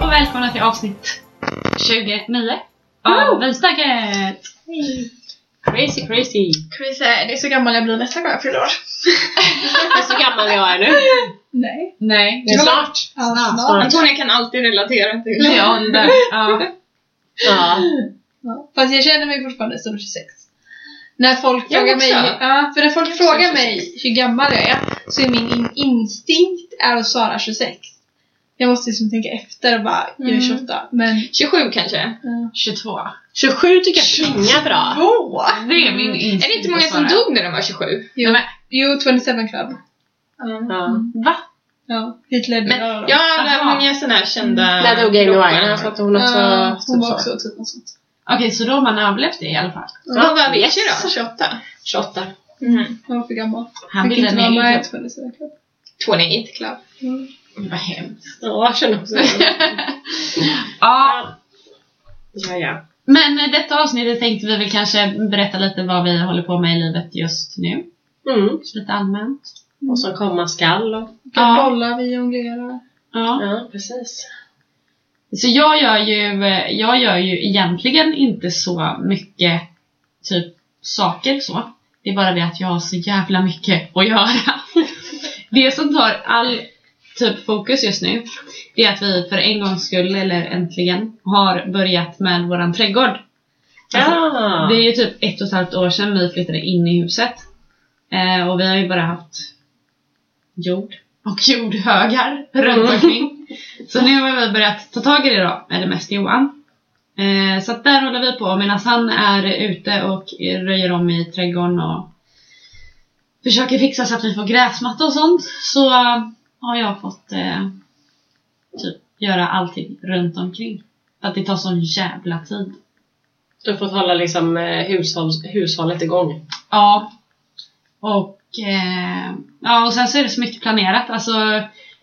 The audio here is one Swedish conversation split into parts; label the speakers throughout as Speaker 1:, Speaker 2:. Speaker 1: välkomna till avsnitt 29 av Vinstacket! Crazy crazy!
Speaker 2: Chris är, det är så gammal jag blir nästa gång jag fyller år.
Speaker 3: Det är
Speaker 4: Alltså,
Speaker 3: så gammal jag är nu.
Speaker 2: Nej.
Speaker 1: Nej,
Speaker 3: Det är snart.
Speaker 2: Snart.
Speaker 3: Snart.
Speaker 2: Antonija kan alltid relatera till.
Speaker 1: Ja, det där. Ja.
Speaker 3: Ja.
Speaker 2: Ja. Fast jag känner mig fortfarande som 26. När folk
Speaker 3: Jag
Speaker 2: frågar
Speaker 3: också.
Speaker 2: mig, ja, för när folk
Speaker 3: Jag
Speaker 2: frågar
Speaker 3: också
Speaker 2: mig hur gammal jag är så är min in- instinkt är att svara 26. Jag måste liksom tänka efter och bara, jag är
Speaker 3: Mm.
Speaker 2: 28. Men
Speaker 3: 27 kanske?
Speaker 1: 22.
Speaker 3: 27 tycker jag klingar bra.
Speaker 2: två?
Speaker 1: Det är min instinkt
Speaker 3: Är det inte många
Speaker 1: att
Speaker 3: som
Speaker 1: svara.
Speaker 3: dog när de var 27?
Speaker 2: Jo, jo 27 Club.
Speaker 3: Ja.
Speaker 1: Va?
Speaker 2: Ja, Hitler.
Speaker 3: Men
Speaker 2: ja,
Speaker 3: ja, det är
Speaker 1: Aha.
Speaker 3: många sådana här kända...
Speaker 4: Där dog Amy
Speaker 3: rockare.
Speaker 4: Winehouse för att hon också...
Speaker 2: Ja, hon var
Speaker 4: så.
Speaker 2: också typ något sånt.
Speaker 1: Okej, så då har man överlevt det i alla fall.
Speaker 3: Ja, vad vet jag då? 28?
Speaker 4: 28.
Speaker 3: Mm.
Speaker 2: Hon var för gammal.
Speaker 1: Han
Speaker 2: Fick
Speaker 1: ville
Speaker 2: inte
Speaker 1: en
Speaker 2: vara
Speaker 1: egen
Speaker 2: med i
Speaker 1: klubb.
Speaker 2: 27 Club.
Speaker 3: Tony It Club.
Speaker 2: Mm.
Speaker 1: Vad hemskt.
Speaker 4: Ja, jag känner också det.
Speaker 1: Ja,
Speaker 4: Ja, ja.
Speaker 1: men eh, detta avsnittet tänkte vi väl kanske berätta lite vad vi håller på med i livet just nu.
Speaker 4: Mm.
Speaker 1: Så Lite allmänt.
Speaker 4: Och så komma skall och...
Speaker 1: Ja.
Speaker 2: Bollar vi jonglerar.
Speaker 1: Ja.
Speaker 4: Ja, precis.
Speaker 1: Så jag gör ju, jag gör ju egentligen inte så mycket typ saker så. Det är bara det att jag har så jävla mycket att göra. Det som tar all typ fokus just nu det är att vi för en gångs skull, eller äntligen, har börjat med våran trädgård. Alltså,
Speaker 4: Ja!
Speaker 1: det är ju typ ett och ett halvt år sedan vi flyttade in i huset. Eh, och vi har ju bara haft jord och jordhögar runt omkring. Så nu har vi börjat ta tag i det då, eller mest Johan. Eh, så att där håller vi på medan han är ute och röjer om i trädgården och försöker fixa så att vi får gräsmatta och sånt. Så eh, har jag fått eh, typ göra allting runt omkring. För att det tar sån jävla tid.
Speaker 4: Du har fått hålla liksom eh, hushålls, hushållet igång.
Speaker 1: Ja. Och, eh, ja, och sen så är det så mycket planerat. Alltså,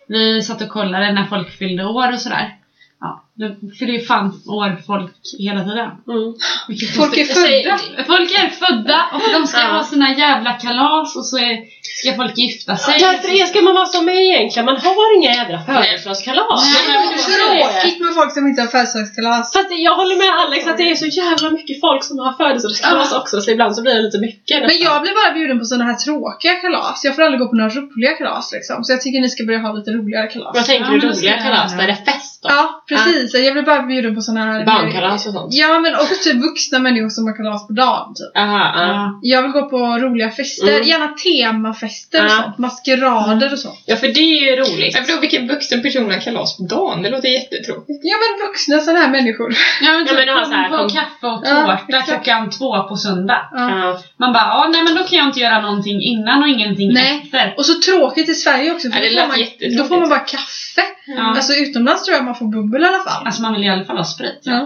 Speaker 1: vi satt och kollade när folk fyllde år och sådär. Ja, det fyller ju fan år folk hela tiden.
Speaker 4: Mm.
Speaker 1: Vilket
Speaker 2: Folk är
Speaker 1: konstigt.
Speaker 2: födda.
Speaker 1: Folk är födda och de ska
Speaker 4: Ja.
Speaker 1: ha sina jävla kalas och så är, ska folk gifta sig.
Speaker 4: Därför är, ska man vara som mig egentligen. Man har inga jädra födelsedagskalas.
Speaker 1: Nej.
Speaker 4: Men jag
Speaker 2: Så
Speaker 4: förstår det.
Speaker 2: tråkigt med folk som inte har födelsedagskalas.
Speaker 4: Fast jag håller med Alex att det är så jävla mycket folk som har födelsedagskalas också så ibland så blir det lite mycket.
Speaker 2: Men jag blir bara bjuden på sådana här tråkiga kalas. Jag får aldrig gå på några roliga kalas liksom. Så jag tycker ni ska börja ha lite roligare
Speaker 4: Vad
Speaker 2: kalas.
Speaker 4: tänker
Speaker 1: Ja,
Speaker 4: du
Speaker 1: men då ska
Speaker 4: roliga
Speaker 1: jag-
Speaker 4: kalas? Där är det fest då?
Speaker 2: Ja, precis. Jag blir bara bjuden på sådana här...
Speaker 4: Barnkalas och sånt?
Speaker 2: Ja, men också typ vuxna människor som har kalas på dagen typ.
Speaker 4: Aha, ja.
Speaker 1: Ja.
Speaker 2: Jag vill gå på roliga fester.
Speaker 4: Mm.
Speaker 2: Gärna temafester och
Speaker 4: Ja.
Speaker 2: sånt. Maskerader och sånt.
Speaker 4: ja, för det är ju roligt.
Speaker 3: Jag förstår vilken vuxen person har kalas på dagen. Det låter jättetråkigt.
Speaker 2: Ja, men vuxna sådana här människor.
Speaker 1: Ja men
Speaker 4: Ja,
Speaker 1: typ
Speaker 4: men de har så här
Speaker 1: korv och
Speaker 4: kom-
Speaker 1: kaffe och
Speaker 2: Ja,
Speaker 1: tårta
Speaker 2: exakt.
Speaker 1: klockan två på söndag.
Speaker 2: Ja.
Speaker 4: Ja.
Speaker 1: Man bara, ja nej men då kan jag inte göra någonting innan och ingenting
Speaker 2: Nej.
Speaker 1: efter.
Speaker 2: Och så tråkigt i Sverige också. För
Speaker 3: Ja, det
Speaker 2: då,
Speaker 3: lät
Speaker 2: får man,
Speaker 3: jättetråkigt.
Speaker 2: då får man bara kaffe.
Speaker 1: Ja.
Speaker 2: Alltså utomlands tror jag man får bubbel i alla fall.
Speaker 1: Alltså man vill i alla fall ha sprit. Ja.
Speaker 2: Ja.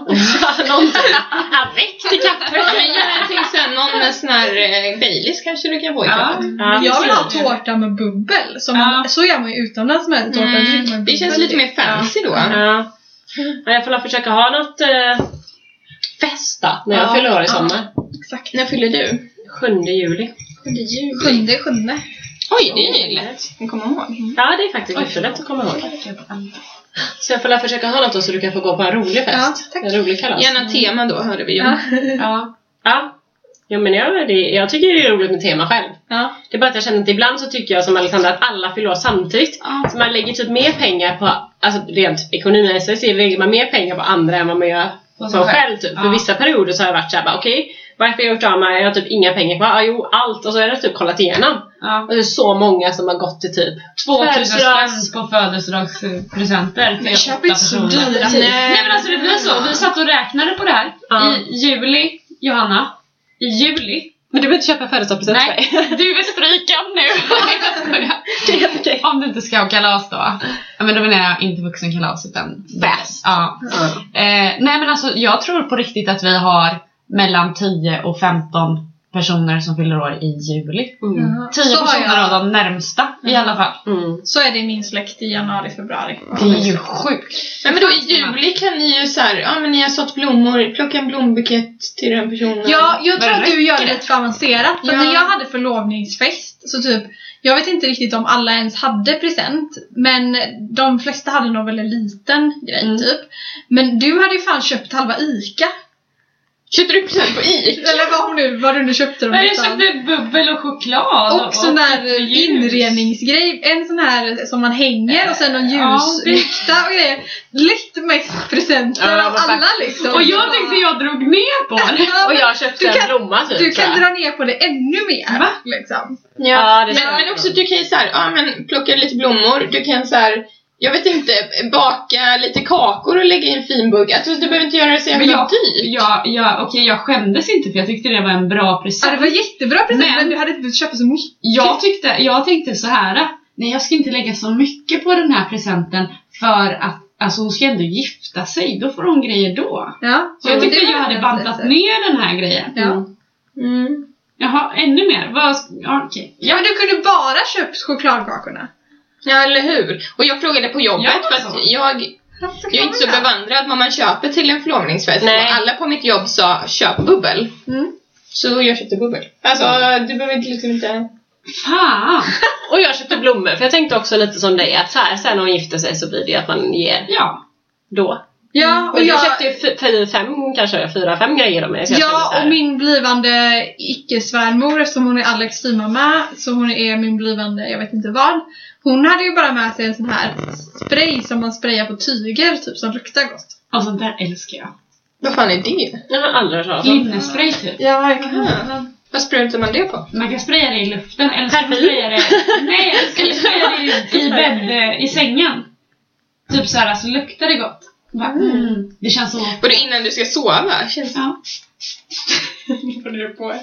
Speaker 4: Någonting. Ja, Väck till
Speaker 3: Men
Speaker 4: kaffet!
Speaker 3: gör någonting sen, någon med sån här eh, Baileys kanske du kan få i kaffet.
Speaker 4: Ja,
Speaker 2: Jag vill ha tårta med bubbel. Som man,
Speaker 1: Ja.
Speaker 2: Så gör man ju utomlands med tårta. då dricker man
Speaker 3: Mm,
Speaker 2: bubbel.
Speaker 3: det känns lite mer fancy då.
Speaker 4: Ja. Ja, Jag får väl försöka ha något eh, fest då, när jag
Speaker 3: Ja.
Speaker 4: fyller år i sommar.
Speaker 2: Exakt.
Speaker 3: När fyller du?
Speaker 4: 7 juli.
Speaker 3: juli.
Speaker 2: Sjunde, sjunde. Mm.
Speaker 3: Oj, det är nyligt. Jag kommer ihåg. Mm.
Speaker 4: Ja, det är faktiskt
Speaker 1: Oj.
Speaker 4: jättelätt att komma ihåg. Så jag får väl försöka ha något då så du kan få gå på en rolig fest.
Speaker 2: Ja, tack.
Speaker 4: en rolig kalas. Mm. Ja,
Speaker 3: Gärna tema då, hörde vi ju.
Speaker 2: Ja.
Speaker 1: Ja.
Speaker 4: Jo, men jag, det, jag tycker det är roligt med tema själv.
Speaker 2: Ja.
Speaker 4: Det är bara att jag känner att ibland så tycker jag som Alexandra att alla fyller år samtidigt.
Speaker 1: Ja.
Speaker 4: Så man lägger typ mer pengar på, alltså rent ekonomimässigt så lägger man mer pengar på andra än vad man gör
Speaker 1: På
Speaker 4: på
Speaker 1: sig
Speaker 4: sig
Speaker 1: själv.
Speaker 4: själv. Typ.
Speaker 1: Ja.
Speaker 4: För vissa perioder så har jag varit såhär bara okej, varför har jag gjort av mig? Jag har typ inga pengar kvar. Ja, jo, allt. Och så har jag typ kollat igenom.
Speaker 1: Ja.
Speaker 4: Och det är så många som har gått till typ
Speaker 1: 2000
Speaker 4: födelsedags-
Speaker 1: spänn på födelsedagspresenter till
Speaker 2: Men köp
Speaker 1: åtta
Speaker 2: inte så
Speaker 1: personer.
Speaker 2: dyra
Speaker 1: Nej. Nej men alltså det blir så. Vi satt och räknade på det här
Speaker 4: Ja.
Speaker 1: i juli, Johanna. I juli.
Speaker 4: Men du behöver inte köpa födelsedagspresent till
Speaker 1: Nej,
Speaker 4: mig.
Speaker 1: du är strykad nu! Jag skojar.
Speaker 4: Det är helt okej.
Speaker 1: Om du inte ska ha kalas då. Ja, Men då menar jag inte vuxenkalas utan
Speaker 4: Fest.
Speaker 1: Ja. Eh, nej men alltså jag tror på riktigt att vi har mellan 10 och 15 personer som fyller år i juli.
Speaker 4: Mm.
Speaker 2: Ja.
Speaker 1: 10
Speaker 2: Så har
Speaker 1: personer
Speaker 2: jag-
Speaker 1: av de närmsta i alla fall.
Speaker 4: Mm.
Speaker 2: Så är det i min släkt i januari, februari.
Speaker 1: Det är ju sjukt.
Speaker 3: Nej, men då i juli kan ni ju så här, ja men ni har sått blommor, plocka en blombukett till den personen.
Speaker 2: Ja, jag tror
Speaker 1: Men
Speaker 2: att du gör det
Speaker 3: räcker det?
Speaker 2: lite för avancerat. För
Speaker 3: Ja.
Speaker 2: när jag hade förlovningsfest så typ, jag vet inte riktigt om alla ens hade present. Men de flesta hade nog väl en liten grej
Speaker 1: Mm.
Speaker 2: typ. Men du hade ju fan köpt halva ICA.
Speaker 3: Köpte du present på Ica?
Speaker 2: Eller vad hon nu, vad du nu köpte dem
Speaker 1: Men jag
Speaker 2: utan.
Speaker 1: köpte bubbel och choklad.
Speaker 2: Och sån där
Speaker 1: ljus.
Speaker 2: inredningsgrej, en sån här som man hänger och sen någon
Speaker 1: Ja, det-
Speaker 2: ljuslykta och grejer. Lätt mest presenter
Speaker 4: Ja,
Speaker 2: av
Speaker 4: men
Speaker 2: alla liksom.
Speaker 1: Och jag tänkte jag drog ner på det.
Speaker 2: Ja,
Speaker 4: Och
Speaker 2: men
Speaker 4: jag köpte
Speaker 2: Du kan-
Speaker 4: en blomma typ.
Speaker 2: Du
Speaker 4: så här.
Speaker 2: kan dra ner på det ännu mer.
Speaker 1: Va?
Speaker 2: Liksom.
Speaker 4: Ja, det
Speaker 3: Men,
Speaker 4: känns
Speaker 3: men
Speaker 4: bra.
Speaker 3: också du kan ju så här, ja men plocka lite blommor, du kan så här, jag vet inte, baka lite kakor och lägga i en fin burk. Alltså, du behöver inte göra det så jävla
Speaker 1: Men jag-
Speaker 3: dyrt.
Speaker 1: Jag, jag, okej, jag skämdes inte för jag tyckte det var en bra
Speaker 2: Ja, det
Speaker 1: present.
Speaker 2: var jättebra present men,
Speaker 1: Men-
Speaker 2: du hade inte behövt köpa så mycket.
Speaker 1: Jag, tyckte, jag tänkte så här. Nej, jag ska inte lägga så mycket på den här presenten för att alltså, hon ska ändå gifta sig. Då får hon grejer då.
Speaker 2: Ja,
Speaker 1: Så jag
Speaker 2: men
Speaker 1: tyckte
Speaker 2: det var
Speaker 1: jag hade
Speaker 2: det.
Speaker 1: bantat ner den här grejen.
Speaker 2: Ja.
Speaker 3: Mm.
Speaker 1: Jaha, ännu mer? Vad, ja, okej.
Speaker 2: ja men du kunde bara köpt chokladkakorna.
Speaker 3: Ja, eller hur? Och jag frågade på jobbet
Speaker 1: Ja,
Speaker 3: för
Speaker 1: så.
Speaker 3: att jag,
Speaker 2: Alltså,
Speaker 3: jag är inte så
Speaker 2: kolla.
Speaker 3: bevandrad vad man köper till en förlovningsfest.
Speaker 4: Nej.
Speaker 3: Och alla på mitt jobb sa köp bubbel.
Speaker 2: Mm.
Speaker 3: Så jag köpte bubbel. Alltså du behöver inte liksom inte...
Speaker 1: Fan!
Speaker 4: Och jag köpte blommor för jag tänkte också lite som dig att så här, sen när hon gifter sig så blir det att man ger
Speaker 1: Ja.
Speaker 4: då.
Speaker 2: Ja,
Speaker 4: Och
Speaker 2: och
Speaker 4: jag
Speaker 2: jag,
Speaker 4: köpte ju fy- fy- fem kanske, fyra, fem grejer om mig. så jag kände så
Speaker 2: ja,
Speaker 4: här,
Speaker 2: och min blivande icke-svärmor, eftersom hon är Alex styvmamma, så hon är min blivande, jag vet inte vad. Hon hade ju bara med sig en sån här spray som man sprayar på tyger, typ som luktar gott.
Speaker 1: Och sånt där alltså, älskar jag.
Speaker 3: Vad fan är det?
Speaker 4: Jag har aldrig hört talas om.
Speaker 3: Mm.
Speaker 1: Linnespray typ.
Speaker 2: Ja,
Speaker 3: Aha. Vad sprutar man det på?
Speaker 1: Man kan spraya det i luften eller så kan man
Speaker 4: Parfym.
Speaker 1: spraya det... Nej, eller så kan man spraya det i, i bädd, eh, i sängen. Typ såhär, alltså luktar det gott. Bara, mm. Det känns så...
Speaker 3: Vadå innan du ska sova? Känns
Speaker 1: Ja.
Speaker 3: det du på er?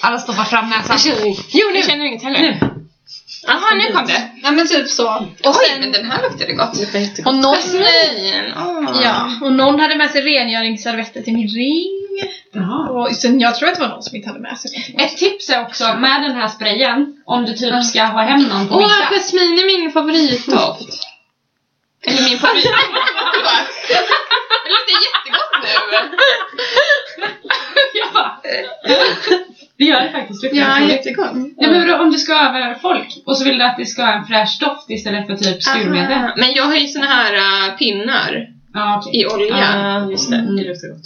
Speaker 1: Alla stoppar fram näsan.
Speaker 4: Jag känner inget.
Speaker 3: Jo, nu känner du inget heller.
Speaker 4: Alltså,
Speaker 3: Jaha, nu kom det.
Speaker 2: Ja men typ så.
Speaker 3: Oj,
Speaker 2: Och sen-
Speaker 3: men den här luktade gott.
Speaker 4: Det var jättegott.
Speaker 2: Och någon,
Speaker 3: Jasmin! åh.
Speaker 2: ja, och någon hade med sig rengöringsservetter till min ring.
Speaker 1: Jaha.
Speaker 2: Och sen jag tror att det var någon som inte hade med sig någonting.
Speaker 1: Ett tips är också med den här sprayen, om du typ ska ha hem någon på
Speaker 3: Åh,
Speaker 1: middag.
Speaker 3: jasmin är min favoritdoft. Eller min favorit... Förlåt. Det luktar jättegott nu.
Speaker 1: Jag bara- Det gör det faktiskt. luktar
Speaker 3: Ja,
Speaker 1: otroligt.
Speaker 3: jättegott.
Speaker 1: Nej, men vadå, om du ska ha över folk och så vill du att det ska ha en fräsch doft istället för typ skurmedel.
Speaker 4: Ah.
Speaker 3: Aha. Men jag har ju såna här äh, pinnar
Speaker 1: Ja, okej.
Speaker 3: i olja.
Speaker 4: Ja, Ah, just det.
Speaker 1: Mm.
Speaker 4: Det luktar gott.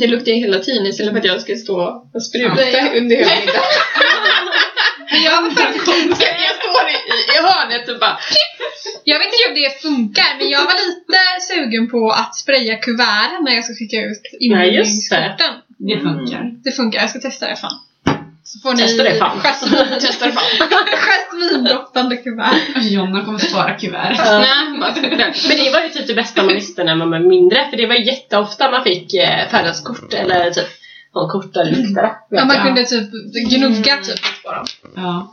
Speaker 3: Det luktar ju hela tiden istället för att jag ska stå och spruta
Speaker 2: Ja.
Speaker 3: under hela middagen.
Speaker 2: Men jag, var faktiskt,
Speaker 3: Jag står i, i hörnet och bara...
Speaker 2: jag vet inte om det funkar, men jag var lite sugen på att spraya kuverten när jag ska skicka ut
Speaker 3: "Mm,
Speaker 4: Nej, just det.
Speaker 2: inbjudningskorten.
Speaker 1: Det funkar.
Speaker 2: Det funkar, jag ska testa det fan. Så får ni
Speaker 4: Testa det fan.
Speaker 3: Testar det fan.
Speaker 2: jasmindoftande kuvert.
Speaker 1: Alltså, Jonna kommer spara kuvertet.
Speaker 3: Nej, bara spruta.
Speaker 4: Men det var ju typ det bästa man visste när man var mindre. För det var ju jätteofta man fick eh, födelsedagskort eller typ någon kort där det
Speaker 3: Mm.
Speaker 4: luktade.
Speaker 2: Ja, man
Speaker 1: Ja.
Speaker 2: kunde typ gnugga
Speaker 4: Mm.
Speaker 2: typ på dem,
Speaker 1: Ja.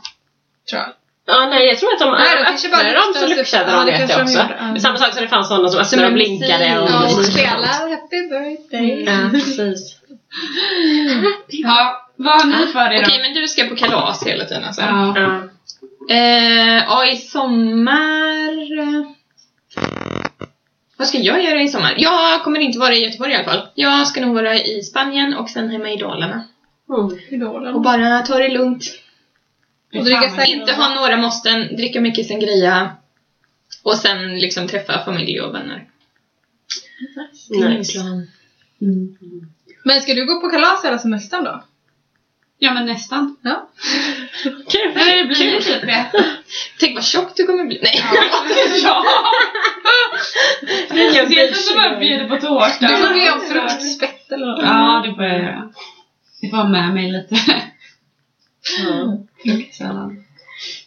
Speaker 2: tror jag.
Speaker 4: Ja, nej jag tror att de
Speaker 2: Nej, de kanske bara
Speaker 4: öppnade dem så
Speaker 2: luktade sig-
Speaker 4: luktade
Speaker 2: ja,
Speaker 4: de
Speaker 2: det
Speaker 4: vet
Speaker 2: kanske
Speaker 4: jag
Speaker 2: de
Speaker 4: också.
Speaker 2: gjorde, ja.
Speaker 4: Men Samma sak som det fanns sådana som öppnade och blinkade och Mm.
Speaker 2: Ja, och
Speaker 4: musik.
Speaker 2: spela Happy birthday.
Speaker 4: Ja, precis.
Speaker 1: ja. Vad har ni för
Speaker 4: Ah,
Speaker 1: er då?
Speaker 3: Okej, men du ska på kalas hela tiden alltså?
Speaker 1: Ja.
Speaker 4: Ja.
Speaker 3: Eh, ja, i sommar... eh, Vad ska jag göra i sommar? Jag kommer inte vara i Göteborg i alla fall. Jag ska nog vara i Spanien och sen hemma i Dalarna. oh,
Speaker 4: Mm.
Speaker 2: Idolen.
Speaker 3: Och bara ta det lugnt.
Speaker 1: Fy
Speaker 2: och dricka
Speaker 1: fan, vad-
Speaker 2: säkert-
Speaker 3: Inte ha några måsten, dricka mycket sangria. Och sen liksom träffa familj och vänner. Det är min
Speaker 4: Nice.
Speaker 3: plan.
Speaker 1: Mm.
Speaker 2: Men ska du gå på kalas hela semestern då?
Speaker 1: Ja men nästan.
Speaker 2: Ja.
Speaker 4: Kul!
Speaker 1: Eller det blir ju typ det.
Speaker 3: Tänk vad tjock du kommer bli. Nej.
Speaker 1: Ja!
Speaker 4: Nya
Speaker 1: Sitter så bara
Speaker 4: beige-
Speaker 1: bjuder på tårta.
Speaker 2: Du kommer ju ha fruktspett eller något.
Speaker 1: Ja det får jag göra. Jag får ha med mig lite
Speaker 4: Ja.
Speaker 1: fruktsallad.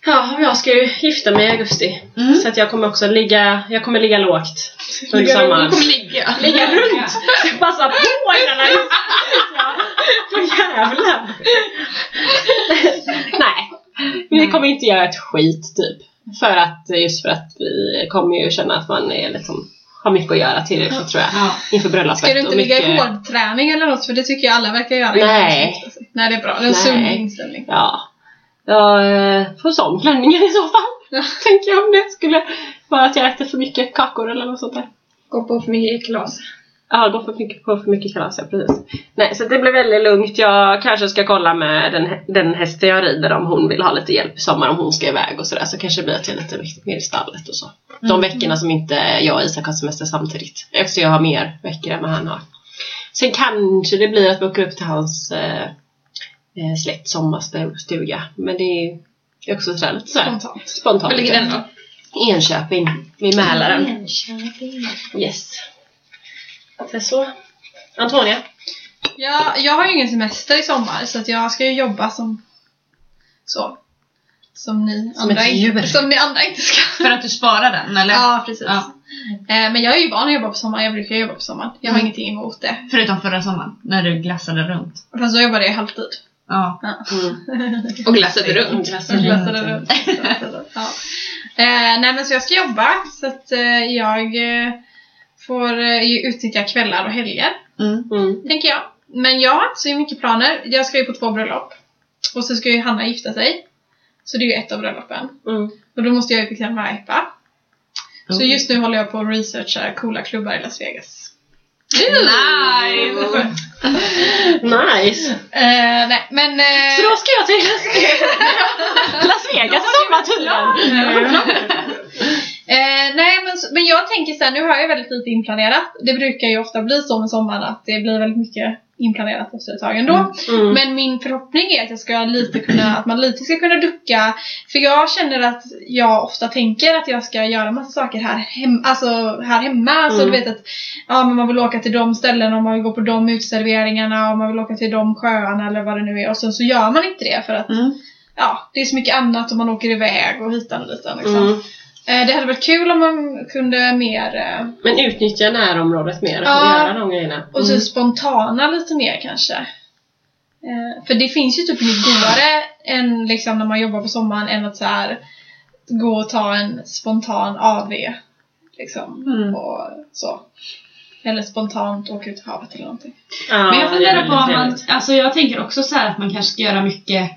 Speaker 4: Ja, men jag ska ju gifta mig i augusti.
Speaker 1: Mm.
Speaker 4: Så att jag kommer också ligga, jag kommer ligga lågt under
Speaker 2: Ligga
Speaker 3: Hon
Speaker 4: sommaren.
Speaker 3: kommer ligga.
Speaker 4: Ligga runt! Passa på innan jag gifter mig! så. Åh, jävlar! Nej, vi kommer inte göra ett skit typ. För att, just för att vi kommer ju känna att man är liksom har mycket att göra tillräckligt tror jag.
Speaker 1: Ja.
Speaker 4: Inför bröllopet.
Speaker 2: Ska du inte
Speaker 4: och
Speaker 2: ligga i
Speaker 4: mycket-
Speaker 2: hårdträning eller något? För det tycker jag alla verkar göra.
Speaker 4: Nej.
Speaker 2: Nej, det är bra. Det är en sund
Speaker 4: Nej.
Speaker 2: inställning.
Speaker 4: Ja. Jag eh, får sån klänningen i så fall. Tänker jag om det skulle vara att jag äter för mycket kakor eller något sånt där.
Speaker 3: Gå på för mycket glas.
Speaker 4: Ja, gå för mycket, på för mycket kalas, ja precis. Nej, så det blir väldigt lugnt. Jag kanske ska kolla med den, hä- den hästen jag rider om hon vill ha lite hjälp i sommar om hon ska iväg och sådär. Så kanske det blir att jag är lite mer i stallet och så.
Speaker 3: Mm.
Speaker 4: De veckorna som inte jag och Isak har semester samtidigt. Eftersom jag har mer veckor än vad han har. Sen kanske det blir att vi åker upp till hans eh, eh, släkt sommarstuga. Men det är ju också sådär lite sådär
Speaker 2: Spontant.
Speaker 4: spontant.
Speaker 3: Var ligger den då?
Speaker 4: Enköping, vid Mälaren.
Speaker 3: Enköping.
Speaker 4: Yes. Det är så. Antonia?
Speaker 2: Ja, jag har ju ingen semester i sommar så att jag ska ju jobba som så. Som ni,
Speaker 1: Som
Speaker 2: andra,
Speaker 1: ett
Speaker 2: inte,
Speaker 1: djur.
Speaker 2: som ni andra inte ska.
Speaker 1: För att du sparar den, eller?
Speaker 2: Ja, precis.
Speaker 1: Ja.
Speaker 2: Eh, men jag är ju van att jobba på sommaren. Jag brukar jobba på sommaren. Jag har
Speaker 1: Mm.
Speaker 2: ingenting emot det.
Speaker 1: Förutom förra sommaren, när du glassade runt.
Speaker 2: Fast då jobbade jag halvtid.
Speaker 1: Ja.
Speaker 4: Mm.
Speaker 3: Och glasset runt.
Speaker 1: Mm.
Speaker 2: Glassade runt. ja. eh, nej men så jag ska jobba så att eh, jag eh, får eh, ju utnyttja kvällar och helger.
Speaker 1: Mm.
Speaker 4: Mm.
Speaker 2: tänker jag. Men jag har inte så mycket planer. Jag ska ju på två bröllop. Och så ska ju Hanna gifta sig. Så det är ju ett av bröllopen.
Speaker 4: Mm.
Speaker 2: Och då måste jag ju fixa en vajpa. Så just nu håller jag på att researcha coola klubbar i Las Vegas.
Speaker 1: Nice!
Speaker 4: Mm. Nice!
Speaker 2: Eh, nej, men... eh,
Speaker 4: Så då ska jag till Las Vegas, Las Vegas i sommar tydligen!
Speaker 2: Eh, nej men, så- men jag tänker så här, nu har jag väldigt lite inplanerat. Det brukar ju ofta bli så med sommaren att det blir väldigt mycket inplanerat efter ett tag ändå.
Speaker 1: Mm.
Speaker 4: Mm.
Speaker 2: Men min förhoppning är att, jag ska lite kunna, att man lite ska kunna ducka. För jag känner att jag ofta tänker att jag ska göra massa saker här, hem, alltså här hemma. Så
Speaker 4: Mm.
Speaker 2: du vet att ja, men man vill åka till de ställena och man vill gå på de utserveringarna och man vill åka till de sjöarna eller vad det nu är. Och sen så gör man inte det för att
Speaker 1: Mm.
Speaker 2: ja, det är så mycket annat och man åker iväg och hitan och ditan. Liksom.
Speaker 4: Mm.
Speaker 2: Eh, Det hade varit kul om man kunde mer, eh,
Speaker 4: Men utnyttja närområdet mer och
Speaker 2: Ja.
Speaker 4: göra de grejerna. Mm.
Speaker 2: och så spontana lite mer kanske. Eh, För det finns ju typ inget godare än liksom när man jobbar på sommaren än att så här gå och ta en spontan AV liksom
Speaker 1: Mm.
Speaker 2: och så. Eller spontant åka ut i havet eller någonting.
Speaker 4: Ja,
Speaker 1: Men jag
Speaker 4: det är
Speaker 1: funderar
Speaker 4: väldigt
Speaker 1: på om man,
Speaker 4: trevligt.
Speaker 1: alltså jag tänker också så här att man kanske ska göra mycket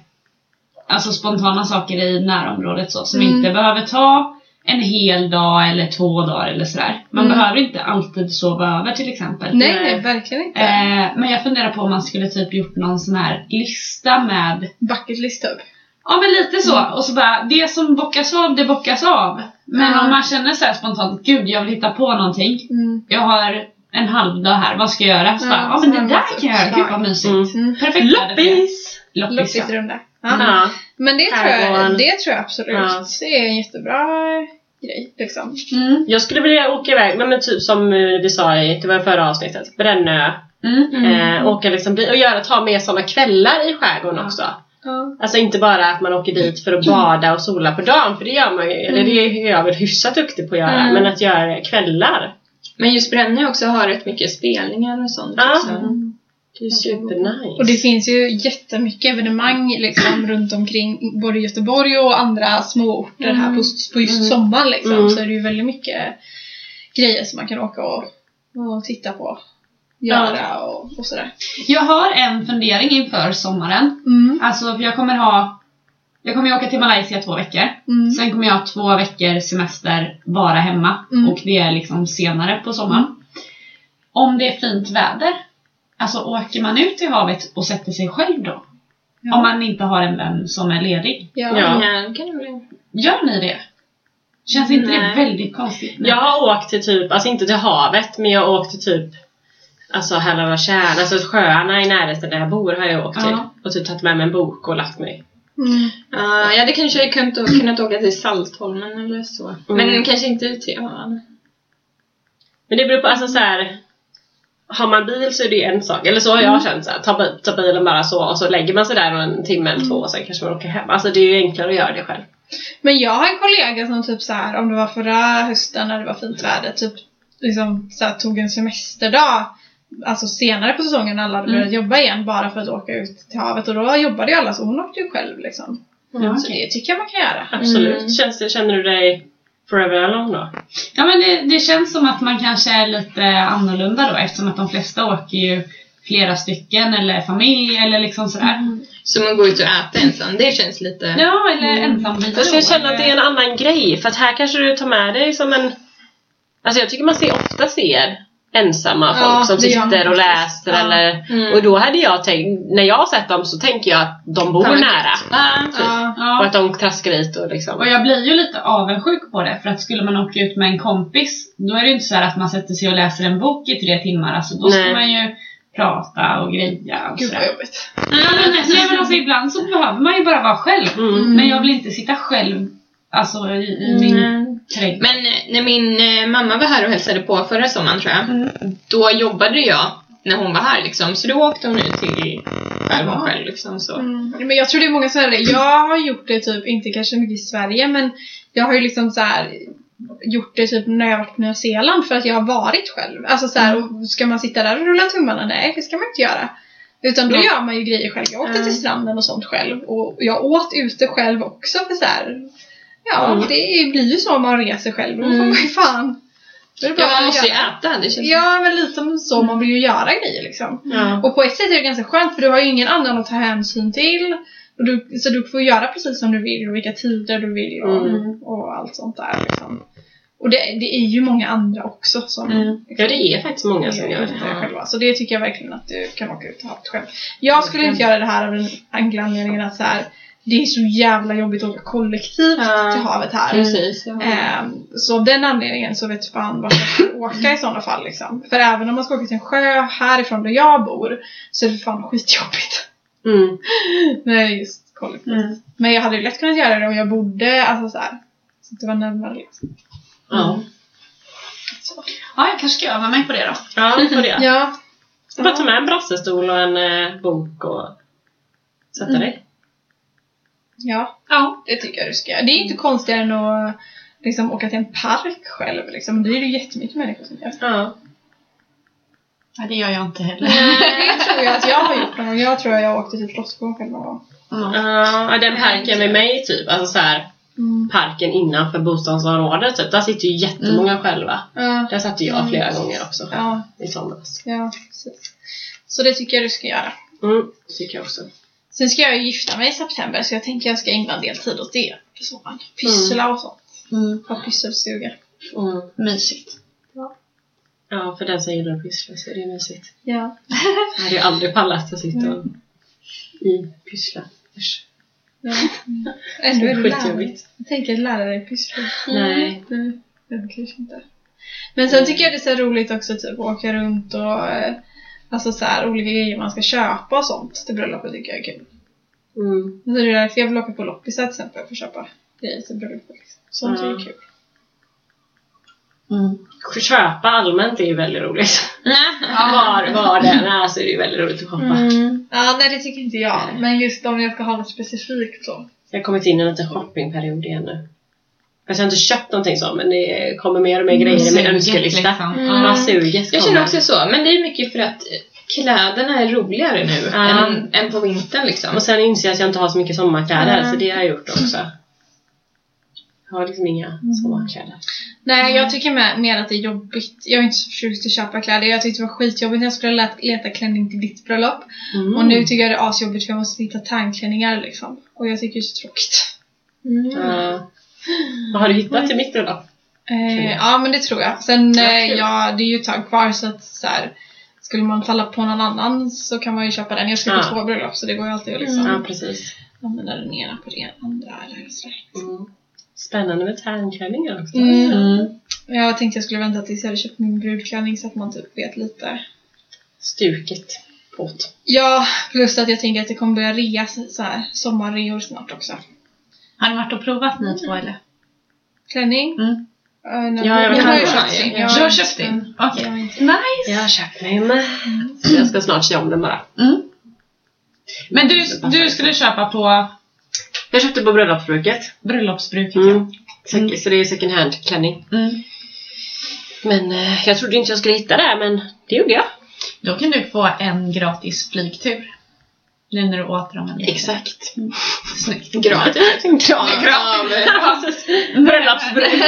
Speaker 1: alltså spontana saker i närområdet så, som
Speaker 2: Mm.
Speaker 1: inte behöver ta en hel dag eller två dagar eller sådär. Man
Speaker 2: Mm.
Speaker 1: behöver inte alltid sova över till exempel.
Speaker 2: Nej,
Speaker 4: Nej.
Speaker 2: nej, verkligen inte.
Speaker 1: Eh, men jag funderar på om man skulle typ gjort någon sån här lista med,
Speaker 2: Bucket list typ.
Speaker 1: ja men lite så, och så bara det som bockas av, det bockas av. Men
Speaker 2: Ja.
Speaker 1: om man känner så här spontant, gud jag vill hitta på någonting,
Speaker 2: Mm.
Speaker 1: jag har en halvdag här, vad ska jag göra? Så
Speaker 2: Ja,
Speaker 1: bara, ja
Speaker 2: så
Speaker 1: men
Speaker 2: har
Speaker 1: det
Speaker 2: man
Speaker 1: där
Speaker 2: massa
Speaker 1: kan jag göra, gud
Speaker 2: uppslag.
Speaker 1: vad mysigt.
Speaker 4: Mm.
Speaker 2: Mm.
Speaker 1: Perfekt väder
Speaker 4: Loppis!
Speaker 1: för det. Loppis! ja.
Speaker 2: Loppisrunda. Ja.
Speaker 4: Ja.
Speaker 2: Men det tror,
Speaker 4: Skärgården.
Speaker 2: jag, det tror jag absolut.
Speaker 4: Mm. Ja.
Speaker 2: Det är en jättebra grej liksom.
Speaker 1: Mm.
Speaker 4: Jag skulle vilja åka iväg, men men typ som eh, vi sa i det var förra avsnittet, Brännö.
Speaker 1: Mm.
Speaker 4: Eh, åka liksom, dit och göra, ta med sådana kvällar i skärgården
Speaker 1: Ja.
Speaker 4: också.
Speaker 2: Ja.
Speaker 4: Alltså inte bara att man åker dit för att bada och sola på dagen, för det gör man ju, eller det är jag väl hyfsat duktig på att göra,
Speaker 2: Mm.
Speaker 4: men att göra det kvällar.
Speaker 3: Men just Brännö också har rätt mycket spelningar och sånt
Speaker 4: Ja.
Speaker 3: också.
Speaker 4: Det är supernice.
Speaker 2: Och det finns ju jättemycket evenemang liksom, runt omkring både Göteborg och andra småorter här på, på just
Speaker 4: Mm.
Speaker 2: sommaren. Liksom.
Speaker 4: Mm.
Speaker 2: Så är det ju väldigt mycket grejer som man kan åka och, och titta på. Göra och, och sådär.
Speaker 1: Jag har en fundering inför sommaren.
Speaker 2: Mm.
Speaker 1: Alltså för jag kommer ha jag kommer ju åka till Malaysia två veckor.
Speaker 2: Mm.
Speaker 1: Sen kommer jag ha två veckor semester bara hemma.
Speaker 2: Mm.
Speaker 1: Och det är liksom senare på sommaren. Om det är fint väder, alltså åker man ut i havet och sätter sig själv då?
Speaker 2: Ja.
Speaker 1: Om man inte har en vän som är ledig.
Speaker 2: Ja.
Speaker 4: Ja.
Speaker 3: Nej, det kan det bli.
Speaker 1: Gör ni det? Känns inte
Speaker 3: Nej.
Speaker 1: det väldigt konstigt? nu?
Speaker 4: Jag har åkt till typ, alltså inte till havet, men jag har åkt till typ Alltså Hälarna tjärn, alltså sjöarna i närheten där jag bor har jag åkt till.
Speaker 1: Ja.
Speaker 4: Och typ tagit med mig en bok och lagt mig.
Speaker 2: Mm.
Speaker 3: Ja, jag hade kanske kunnat, kunnat åka till Saltholmen eller så.
Speaker 4: Mm.
Speaker 3: Men kanske inte ut till ön.
Speaker 4: Men det beror på, alltså så här. Har man bil så är det en sak. Eller så har jag känt så här, ta, bi- ta bilen bara så och så lägger man sig där en timme eller två och sen kanske man åker hem. Alltså det är ju enklare att göra det själv.
Speaker 2: Men jag har en kollega som typ så här, om det var förra hösten när det var fint väder, typ liksom så här, tog en semesterdag Alltså senare på säsongen när alla hade börjat jobba igen bara för att åka ut till havet och då jobbade ju alla så hon åkte ju själv liksom.
Speaker 1: Ja,
Speaker 2: Så det tycker jag man kan göra.
Speaker 4: Absolut.
Speaker 3: Mm.
Speaker 4: Känns det, känner du dig Forever Alone då?
Speaker 1: Ja men det, det känns som att man kanske är lite annorlunda då eftersom att de flesta åker ju flera stycken eller familj eller liksom sådär.
Speaker 4: Mm.
Speaker 3: Så man går ut och äter ensam, det känns lite...
Speaker 1: Ja, eller ensamvilo.
Speaker 4: Fast Mm. jag känner att det är en annan grej. För att här kanske du tar med dig som en... Alltså jag tycker man ser, ofta ser ensamma folk
Speaker 2: Ja,
Speaker 4: som
Speaker 2: det gör man
Speaker 4: sitter och
Speaker 2: faktiskt.
Speaker 4: läser
Speaker 2: Ja.
Speaker 4: eller...
Speaker 3: Mm.
Speaker 4: Och då hade jag tänkt, när jag har sett dem så tänker jag att de bor
Speaker 3: Fan, vad
Speaker 4: nära.
Speaker 3: gött. Ja. typ.
Speaker 2: Ja.
Speaker 4: Och
Speaker 1: Ja,
Speaker 4: att de traskar dit och
Speaker 1: och
Speaker 4: liksom...
Speaker 1: jag blir ju lite avundsjuk på det för att skulle man åka ut med en kompis då är det ju inte så här att man sätter sig och läser en bok i tre timmar. Alltså då ska
Speaker 4: Nej.
Speaker 1: man ju prata och greja och
Speaker 2: Gud vad
Speaker 1: Typ. sådär.
Speaker 2: jobbigt.
Speaker 1: Ja, men, nej, men alltså, ibland så behöver man ju bara vara själv.
Speaker 4: Mm.
Speaker 1: Men jag vill inte sitta själv alltså, i, i min
Speaker 3: Mm.
Speaker 1: trädgård.
Speaker 3: Men eh, när min eh, mamma var här och hälsade på förra sommaren tror jag, då jobbade jag när hon var här liksom. Så då åkte hon ut till Skärholmen själv liksom. Så.
Speaker 2: Mm. Men jag tror det är många som gör det. Jag har gjort det typ, inte kanske mycket i Sverige, men jag har ju liksom så här gjort det typ när jag var på Nya Zeeland för att jag har varit själv. Alltså så här, och ska man sitta där och rulla tummarna? Nej, det ska man inte göra. Utan då
Speaker 4: Nej.
Speaker 2: gör man ju grejer själv. Jag åkte
Speaker 3: Mm.
Speaker 2: till stranden och sånt själv och jag åt ute själv också för så här. Ja,
Speaker 4: Mm.
Speaker 2: det blir ju så om man reser själv. Då får
Speaker 3: Mm.
Speaker 2: man ju fan... Då är det
Speaker 3: Ja,
Speaker 2: bara
Speaker 3: man
Speaker 2: att
Speaker 3: måste ju
Speaker 2: göra.
Speaker 3: äta. Det känns
Speaker 2: Ja, men lite så. Man vill ju göra grejer liksom.
Speaker 4: Ja.
Speaker 2: Och på ett sätt är det ganska skönt för du har ju ingen annan att ta hänsyn till. Och du, så du får göra precis som du vill och vilka tider du vill och,
Speaker 4: Mm.
Speaker 2: och allt sånt där. Liksom. Och det, det är ju många andra också som
Speaker 4: Mm. Ja, det är faktiskt många som gör det.
Speaker 2: det själva. Så det tycker jag verkligen att du kan åka ut och ha det själv. Jag skulle inte göra det här av den enkla anledningen att så här, det är så jävla jobbigt att åka kollektivt
Speaker 3: Ja.
Speaker 2: till havet här.
Speaker 3: Precis. Ja.
Speaker 2: Ehm, så av den anledningen så vet fan vart jag ska åka i sådana fall liksom. För även om man ska åka till en sjö härifrån där jag bor så är det för fan skitjobbigt.
Speaker 4: Mm.
Speaker 2: Nej, just kollektivt.
Speaker 1: Mm.
Speaker 2: Men jag hade ju lätt kunnat göra det om jag bodde, alltså så här. Så att det var närmare liksom.
Speaker 4: Ja.
Speaker 1: Ja, jag kanske ska öva mig på det då.
Speaker 4: Ja, på det.
Speaker 2: Ja.
Speaker 4: Bara ta med en brassestol och en eh, bok och sätta
Speaker 2: Mm.
Speaker 4: dig.
Speaker 2: Ja,
Speaker 1: Ja.
Speaker 2: det tycker jag du ska göra. Det är inte konstigare än att liksom åka till en park själv liksom. Det är det ju jättemycket människor som gör.
Speaker 4: Ja.
Speaker 1: ja, det gör jag inte heller.
Speaker 2: Det tror jag att jag har gjort någon gång. Jag tror jag åkte till Frostgården själv någon gång.
Speaker 1: Ja.
Speaker 4: Ja, den parken med mig typ. Alltså så här,
Speaker 2: Mm.
Speaker 4: parken innanför bostadsområdet typ. Där sitter ju jättemånga själva.
Speaker 2: Ja.
Speaker 4: Där satt jag
Speaker 2: Mm.
Speaker 4: flera gånger också
Speaker 2: ja.
Speaker 4: i somras.
Speaker 2: Ja, precis. Så det tycker jag du ska göra.
Speaker 4: Mm, tycker jag också.
Speaker 2: Sen ska jag ju gifta mig i september så jag tänker jag ska ägna en del tid åt det. på sommaren. Pyssla och sånt.
Speaker 1: Mm.
Speaker 2: Ha pysselstuga.
Speaker 4: Mm.
Speaker 1: Mysigt.
Speaker 4: Ja, för den som gillar att pyssla så är det mysigt.
Speaker 2: Ja.
Speaker 4: Jag hade ju aldrig pallat att sitta
Speaker 2: Mm.
Speaker 4: och i pyssla. Usch,
Speaker 2: ja. Ändå är du lärare.
Speaker 4: skitjobbigt.
Speaker 2: Jag tänker lära dig pyssla.
Speaker 4: Nej. Mm.
Speaker 2: Nej, det kanske inte. Men sen tycker jag det är så här roligt också typ att åka runt och eh, Alltså så här, olika grejer man ska köpa och sånt till bröllopet tycker jag är kul.
Speaker 4: Mm.
Speaker 2: Men så är det därför jag vill åka på loppisar till exempel för att köpa grejer till bröllopet. liksom. Sånt är
Speaker 4: Ja.
Speaker 2: ju kul.
Speaker 1: Mm.
Speaker 4: Köpa allmänt är ju väldigt roligt. Var, var den är så är det ju väldigt roligt att shoppa.
Speaker 3: Mm.
Speaker 2: Ja, nej det tycker inte jag. Men just om jag ska ha något specifikt så.
Speaker 4: Jag har kommit in i en liten shoppingperiod igen nu. Fast jag har inte köpt någonting så, men det kommer mer och mer grejer i min
Speaker 1: Suget,
Speaker 4: önskelista.
Speaker 1: liksom.
Speaker 3: Mm.
Speaker 4: Ja, suget kommer.
Speaker 3: Jag känner också så, men det är mycket för att eh, kläderna är roligare nu
Speaker 4: Ja.
Speaker 3: än, än på vintern liksom.
Speaker 4: Och sen inser jag att jag inte har så mycket sommarkläder,
Speaker 3: Nej.
Speaker 4: så det har jag gjort också. Jag har liksom inga sommarkläder.
Speaker 2: Nej,
Speaker 4: Mm.
Speaker 2: jag tycker med, mer att det är jobbigt. Jag är inte så förtjust i att köpa kläder. Jag tyckte det var skitjobbigt när jag skulle leta, leta klänning till ditt bröllop.
Speaker 4: Mm.
Speaker 2: Och nu tycker jag det är asjobbigt för jag måste hitta tangklänningar liksom. Och jag tycker det är så tråkigt.
Speaker 4: Mm. Ja. Vad har du hittat till mitt bröllop?
Speaker 2: Eh,
Speaker 4: Okej.
Speaker 2: ja, men det tror jag. Sen,
Speaker 4: Ja,
Speaker 2: eh,
Speaker 4: kul.
Speaker 2: ja, det är ju ett tag kvar så att så här, skulle man falla på någon annan så kan man ju köpa den. Jag ska på
Speaker 4: Ja.
Speaker 2: två bröllop så det går ju alltid att liksom
Speaker 3: Mm.
Speaker 4: Ja, precis. Mm.
Speaker 2: använda den ena på det andra eller sådär.
Speaker 4: Spännande med tärnklänningar också.
Speaker 2: Mm.
Speaker 1: Mm.
Speaker 2: Jag tänkte jag skulle vänta tills jag hade köpt min brudklänning så att man typ vet lite.
Speaker 4: Stuket på't.
Speaker 2: Ja, plus att jag tänker att det kommer börja reas så här sommarreor snart också.
Speaker 1: Har ni varit och provat ni två eller?
Speaker 2: Klänning?
Speaker 1: Mm.
Speaker 2: Uh, nej,
Speaker 4: Ja, jag vet
Speaker 2: jag har ju
Speaker 4: inte.
Speaker 2: köpt
Speaker 3: Ja,
Speaker 2: din.
Speaker 3: ja.
Speaker 2: har
Speaker 1: du har
Speaker 2: inte-
Speaker 1: köpt din? Okej.
Speaker 2: Jag har inte-
Speaker 1: Nice!
Speaker 4: Jag har köpt mig med. Så jag ska snart se om den bara.
Speaker 1: Mm. Men du,
Speaker 4: Det passar
Speaker 1: du
Speaker 4: inte.
Speaker 1: skulle köpa på
Speaker 4: Jag köpte på bröllopsbruket.
Speaker 1: bröllopsbruket ja.
Speaker 4: Mm. Sek-
Speaker 1: Mm.
Speaker 4: Så det är second hand-klänning.
Speaker 1: Mm.
Speaker 4: Men eh, jag trodde inte jag skulle hitta det, här, men det gjorde jag.
Speaker 1: Då kan du få en gratis flygtur. Nu när du återanvänder
Speaker 4: Exakt.
Speaker 1: Snyggt.
Speaker 3: Grad.
Speaker 4: Gran. Bröllopsbränn.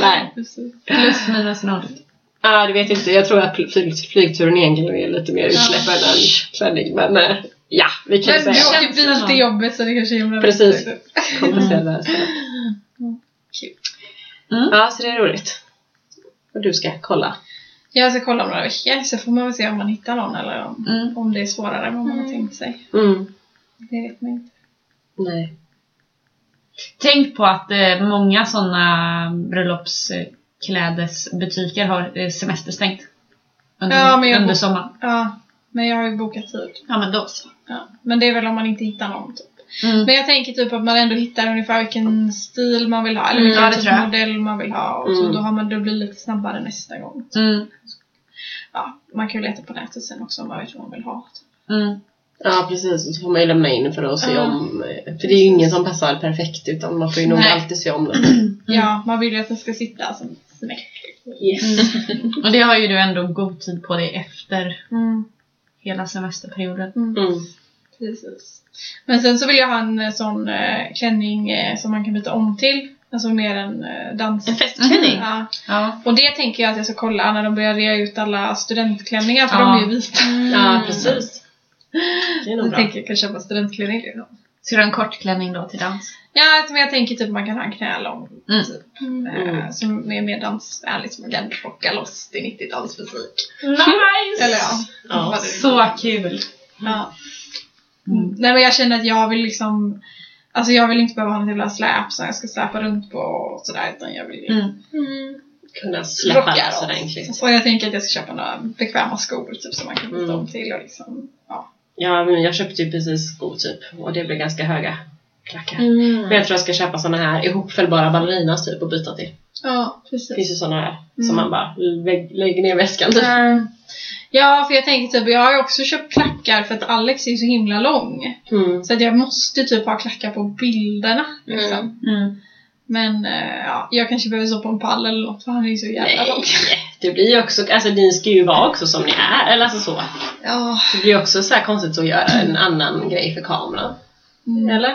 Speaker 4: Nej.
Speaker 2: Precis.
Speaker 1: Mm. Plus minus noll.
Speaker 4: Ja, det Ah, vet jag inte. Jag tror att flyg, flygturen egentligen är lite mer utsläpp än en klänning. Men eh, ja, vi kan ju
Speaker 2: Men du
Speaker 4: säga.
Speaker 2: åker bil till jobbet så det kanske är himla
Speaker 4: Precis.
Speaker 2: roligt.
Speaker 4: komplicerade saker.
Speaker 1: Mm.
Speaker 4: Ja, så det är roligt. Och du ska kolla.
Speaker 2: Jag ska kolla om några veckor så får man väl se om man hittar någon eller om,
Speaker 1: Mm.
Speaker 2: om det är svårare än vad man har
Speaker 3: Mm.
Speaker 2: tänkt sig.
Speaker 4: Mm.
Speaker 2: Det vet man inte.
Speaker 4: Nej.
Speaker 1: Tänk på att eh, många sådana bröllopsklädesbutiker har eh, semesterstängt. Under,
Speaker 2: Ja, men jag-
Speaker 1: under sommaren.
Speaker 2: Ja, men jag har ju bokat tid.
Speaker 1: Ja, men då så.
Speaker 2: Ja. Men det är väl om man inte hittar någon typ.
Speaker 1: Mm.
Speaker 2: Men jag tänker typ att man ändå hittar ungefär vilken stil man vill ha eller
Speaker 1: Mm,
Speaker 2: vilken
Speaker 1: ja, det
Speaker 2: typ
Speaker 1: tror jag.
Speaker 2: modell man vill ha och så
Speaker 4: Mm.
Speaker 2: då, har man, då blir det lite snabbare nästa gång.
Speaker 1: Mm.
Speaker 2: Ja, man kan ju leta på nätet sen också om man vet vad man vill ha. typ.
Speaker 1: Mm.
Speaker 4: Ja, precis. Och så får man ju lämna in för att se
Speaker 2: Ja.
Speaker 4: om... eh, För det är ju ingen som passar perfekt utan man får ju nog
Speaker 2: Nej.
Speaker 4: alltid se om den.
Speaker 1: Mm.
Speaker 2: Ja, man vill ju att det ska sitta som smäck.
Speaker 4: Yes.
Speaker 1: Och det har ju du ändå god tid på dig efter
Speaker 2: Mm,
Speaker 1: hela semesterperioden.
Speaker 2: mm,
Speaker 4: Mm.
Speaker 2: precis. Men sen så vill jag ha en eh, sån eh, klänning eh, som man kan byta om till. Alltså mer en eh, dans...
Speaker 3: En festklänning.
Speaker 2: Ja.
Speaker 1: Ja.
Speaker 2: Och det tänker jag att jag ska kolla när de börjar rea ut alla studentklänningar för
Speaker 1: Ja.
Speaker 2: de är ju vita.
Speaker 4: Ja, precis. Mm. Det är nog
Speaker 2: Jag
Speaker 4: bra.
Speaker 2: tänker jag kan köpa studentklänning. Liksom.
Speaker 1: Ska du ha en kortklänning då till dans?
Speaker 2: Ja, men jag tänker typ man kan ha en knälång
Speaker 1: Mm.
Speaker 2: typ.
Speaker 4: Mm.
Speaker 2: Eh, som är mer dansvänlig som man kan rocka loss till 90-talsmusik.
Speaker 1: Nice!
Speaker 2: Eller ja.
Speaker 4: Ja.
Speaker 1: Så kul!
Speaker 2: ja.
Speaker 1: Mm.
Speaker 2: Nej men jag känner att jag vill liksom Alltså jag vill inte behöva ha något jävla släp som jag ska släpa runt på och sådär utan jag vill
Speaker 1: Mm.
Speaker 3: Mm.
Speaker 4: Kunna släppa
Speaker 2: rocka
Speaker 4: loss
Speaker 2: loss,
Speaker 4: ordentligt.
Speaker 2: liksom. Och jag tänker att jag ska köpa några bekväma skor typ som man kan byta
Speaker 4: Mm.
Speaker 2: om till och liksom ja.
Speaker 4: Ja, men jag köpte ju precis skor typ och det blev ganska höga klackar. Men
Speaker 1: Mm.
Speaker 4: jag tror jag ska köpa såna här ihopfällbara ballerinas typ och byta till.
Speaker 2: Ja,
Speaker 4: Det
Speaker 2: precis.
Speaker 4: finns ju såna här
Speaker 2: Mm.
Speaker 4: som man bara lä- lägger ner i väskan typ.
Speaker 2: Mm. Ja, för jag tänker typ, jag har ju också köpt klackar för att Alex är ju så himla lång.
Speaker 4: Mm.
Speaker 2: Så att jag måste typ ha klackar på bilderna. Liksom.
Speaker 3: Mm.
Speaker 1: Mm.
Speaker 2: Men eh, ja, jag kanske behöver stå på en pall eller något för han är ju så jävla
Speaker 4: Nej,
Speaker 2: lång.
Speaker 4: det blir ju också, alltså ni ska ju vara också som ni är, eller alltså så.
Speaker 2: Ja.
Speaker 4: Det blir ju också så här konstigt att göra en annan grej för kameran.
Speaker 2: Mm.
Speaker 4: Eller?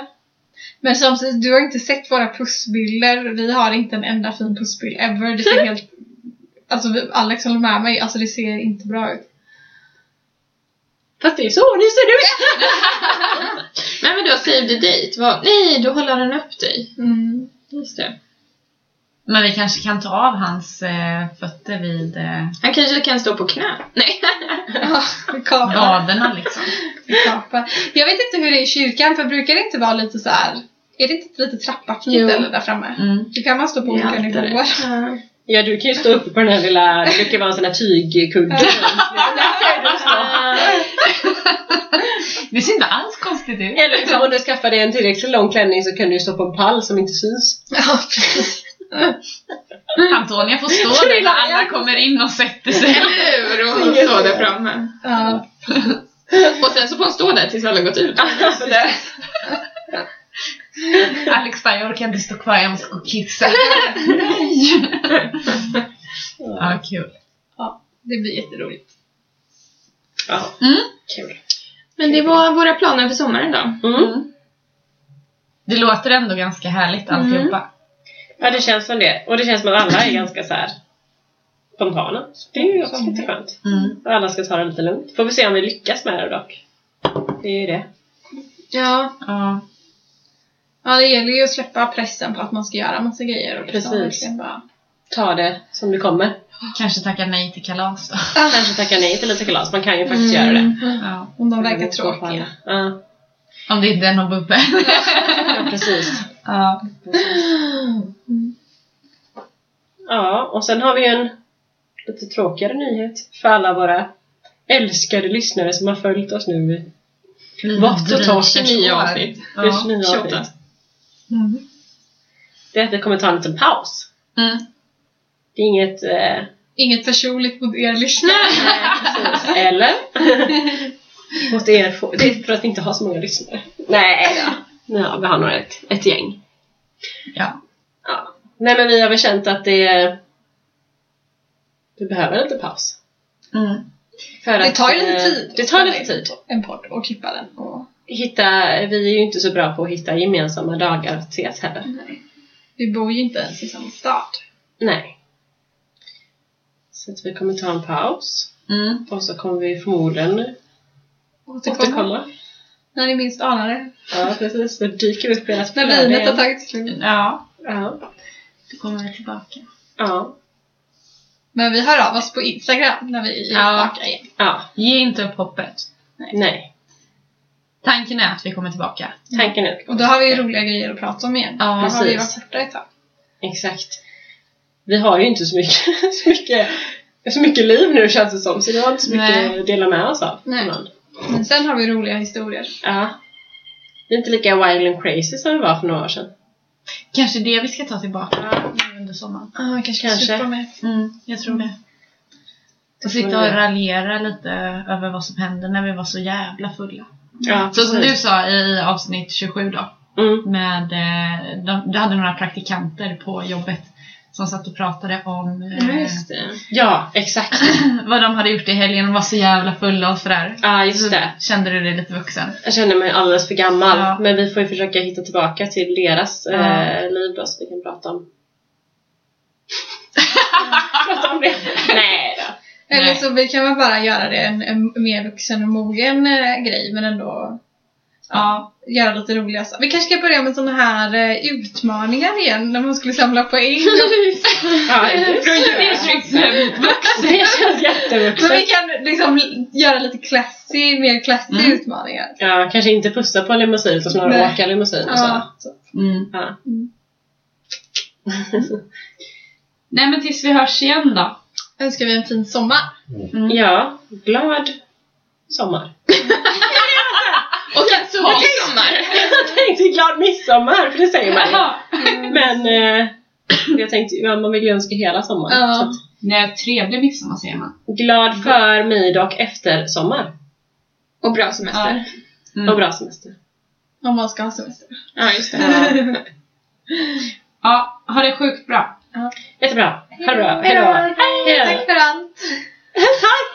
Speaker 2: Men som sagt, du har inte sett våra pussbilder. Vi har inte en enda fin pussbild ever. Det ser helt... Alltså vi- Alex håller med mig, alltså det ser inte bra ut.
Speaker 4: Fast det är så nu ser du
Speaker 3: Nej men du har save the date. Vad? Nej, du håller den upp dig.
Speaker 2: Mm.
Speaker 3: Just det.
Speaker 1: Men vi kanske kan ta av hans eh, fötter vid eh,
Speaker 3: Han kanske kan stå på knä. Nej.
Speaker 2: Ja, vi kapar.
Speaker 1: raderna liksom.
Speaker 2: Vi kapar. Jag vet inte hur det är i kyrkan, för brukar det inte vara lite så här. Är det inte lite trappaktigt
Speaker 3: Jo.
Speaker 2: eller där framme?
Speaker 1: Mm.
Speaker 2: Då kan man stå på
Speaker 3: I
Speaker 2: olika
Speaker 3: altaret.
Speaker 2: nivåer.
Speaker 4: Ja, du kan ju stå uppe på den här lilla, det brukar vara en sån här Ah, tygkudde.
Speaker 1: Det ser inte alls konstigt ut.
Speaker 4: Eller liksom, om du skaffar dig en tillräckligt lång klänning så kan du ju stå på en pall som inte syns.
Speaker 2: Ja, precis.
Speaker 1: Antonia får stå där när alla kommer in och sätter sig.
Speaker 3: Eller hur? Och stå där framme.
Speaker 2: Ja.
Speaker 3: Och sen så får han stå där tills alla gått ut.
Speaker 4: Sådär.
Speaker 1: Alex bara, jag orkar inte stå kvar, jag måste gå och kissa. Ja, kul.
Speaker 2: Det blir jätteroligt.
Speaker 4: Ja,
Speaker 1: Mm.
Speaker 4: kul.
Speaker 3: Men det var våra planer för sommaren då.
Speaker 4: Mm.
Speaker 1: Det låter ändå ganska härligt alltihopa.
Speaker 4: Ja, det känns som det. Och det känns som att alla är ganska så här spontana. Så det är ju också lite skönt.
Speaker 1: Mm.
Speaker 4: Och alla ska ta det lite lugnt. Får vi se om vi lyckas med det dock. Det är ju det.
Speaker 2: Ja.
Speaker 1: Ja.
Speaker 2: ja, det gäller ju att släppa pressen på att man ska göra massa grejer. Och liksom
Speaker 4: Precis.
Speaker 2: verkligen Bara...
Speaker 4: Ta det som det kommer.
Speaker 1: Kanske tacka nej till kalas då.
Speaker 4: Kanske tacka nej till lite kalas. Man kan ju faktiskt göra det.
Speaker 2: Mm.
Speaker 1: Ja.
Speaker 2: Om de
Speaker 4: Mm. Det
Speaker 2: verkar
Speaker 4: beror på alla.
Speaker 2: tråkiga.
Speaker 4: Ja,
Speaker 1: Om det inte är någon bubbel.
Speaker 4: ja, precis.
Speaker 1: Ja.
Speaker 4: Ja, och sen har vi ju en lite tråkigare nyhet för alla våra älskade lyssnare som har följt oss nu i
Speaker 2: Mm.
Speaker 4: Vart och torrt.
Speaker 3: 29 avsnitt.
Speaker 1: Ja.
Speaker 4: 29
Speaker 3: 28.
Speaker 4: avsnitt.
Speaker 2: Mm.
Speaker 4: Det är att vi kommer ta en liten paus.
Speaker 1: Mm.
Speaker 4: Det är inget... Eh,
Speaker 2: Inget personligt mot er lyssnare.
Speaker 4: Precis. Eller? Mot er få- det är för att vi inte har så många lyssnare. Nej då. Ja, vi har nog ett, ett gäng.
Speaker 1: Ja.
Speaker 4: Ja. Nej men vi har väl känt att det... Vi behöver lite paus.
Speaker 1: Mm.
Speaker 4: För
Speaker 2: Det
Speaker 4: att,
Speaker 2: tar ju lite
Speaker 4: eh,
Speaker 2: tid.
Speaker 4: Det tar lite tid.
Speaker 2: En podd och klippa den. Och,
Speaker 4: Hitta, vi är ju inte så bra på att hitta gemensamma dagar att ses heller.
Speaker 2: nej. Vi bor ju inte ens i samma stad.
Speaker 4: Nej. Så att vi kommer ta en paus.
Speaker 1: Mm.
Speaker 4: Och så kommer vi förmodligen återkomma.
Speaker 2: När ni minst anar det.
Speaker 4: Ja, precis. Det dyker upp i deras
Speaker 2: När
Speaker 4: flöde
Speaker 2: vinet
Speaker 4: igen.
Speaker 2: har tagit slut.
Speaker 1: Ja,
Speaker 4: Ja.
Speaker 1: då kommer vi tillbaka.
Speaker 4: Ja.
Speaker 2: Men vi hör av oss på Instagram när vi är
Speaker 1: Ja.
Speaker 2: tillbaka igen.
Speaker 4: Ja.
Speaker 1: Ge inte upp hoppet.
Speaker 4: Nej.
Speaker 1: Tanken är att vi kommer tillbaka.
Speaker 4: Tanken är
Speaker 2: Och då har vi ju roliga grejer att prata om igen.
Speaker 1: Ja,
Speaker 2: Då har vi
Speaker 4: precis.
Speaker 2: varit borta ett tag.
Speaker 4: Exakt. Vi har ju inte så mycket, så mycket, så mycket liv nu känns det som. Så det har inte så mycket
Speaker 1: Nej.
Speaker 4: att dela med oss av.
Speaker 2: Nej.
Speaker 4: ibland.
Speaker 2: Men sen har vi roliga historier.
Speaker 4: Ja. Vi är inte lika wild and crazy som vi var för några år sedan.
Speaker 1: Kanske det vi ska ta tillbaka nu under sommaren.
Speaker 2: Ja, ah, kanske,
Speaker 4: Kanske.
Speaker 2: kanske. Med.
Speaker 1: Mm, jag tror det. Och sitta och raljera lite över vad som hände när vi var så jävla fulla.
Speaker 4: Ja,
Speaker 1: Så som du
Speaker 4: precis.
Speaker 1: sa i avsnitt 27 då.
Speaker 4: Mm.
Speaker 1: Med, eh, de, du hade några praktikanter på jobbet som satt och pratade om eh,
Speaker 3: det.
Speaker 4: Ja, exakt.
Speaker 1: vad de hade gjort i helgen och var så jävla fulla och sådär.
Speaker 4: Ja, just det.
Speaker 1: Kände du dig lite vuxen?
Speaker 4: Jag känner mig alldeles för gammal.
Speaker 1: Ja.
Speaker 4: Men vi får ju försöka hitta tillbaka till deras
Speaker 1: Ja.
Speaker 4: eh, liv då, så vi kan prata om... prata om det. Nej då.
Speaker 2: Eller
Speaker 1: Nej.
Speaker 2: så vi kan väl bara göra det en, en mer vuxen och mogen eh, grej men ändå
Speaker 1: Ja.
Speaker 2: göra lite roliga saker. Vi kanske ska börja med såna här eh, utmaningar igen när man skulle samla poäng. Och-
Speaker 4: Ja, just
Speaker 1: Det
Speaker 4: det.
Speaker 1: känns vuxen.
Speaker 4: det känns
Speaker 2: Men
Speaker 4: jättevuxet.
Speaker 2: vi kan liksom l- göra lite classy, mer classy
Speaker 1: Mm.
Speaker 2: utmaningar.
Speaker 4: Ja, kanske inte pussa på en limousin utan snarare
Speaker 2: Nej.
Speaker 4: åka limousin och så.
Speaker 2: Ja, så.
Speaker 1: Mm.
Speaker 4: Ja.
Speaker 1: Nej men tills vi hörs igen då.
Speaker 2: Önskar vi en fin sommar.
Speaker 1: Mm.
Speaker 4: ja, glad sommar.
Speaker 3: Och en solig sommar!
Speaker 4: Jag tänkte glad midsommar, för det säger man ju.
Speaker 1: Jaha.
Speaker 4: Men eh, jag tänkte, ja, man vill ju önska hela sommaren.
Speaker 2: Ja.
Speaker 4: Så att,
Speaker 1: Nej, trevlig midsommar säger man.
Speaker 4: glad för mid och efter sommar.
Speaker 3: Och bra semester.
Speaker 1: Mm.
Speaker 4: Och bra semester.
Speaker 2: Om man ska ha semester.
Speaker 3: Ja, just det.
Speaker 4: Ja.
Speaker 1: Ja, ha det sjukt bra.
Speaker 4: Jättebra. Ha det bra. Hej då.
Speaker 2: Tack för allt!
Speaker 4: Tack!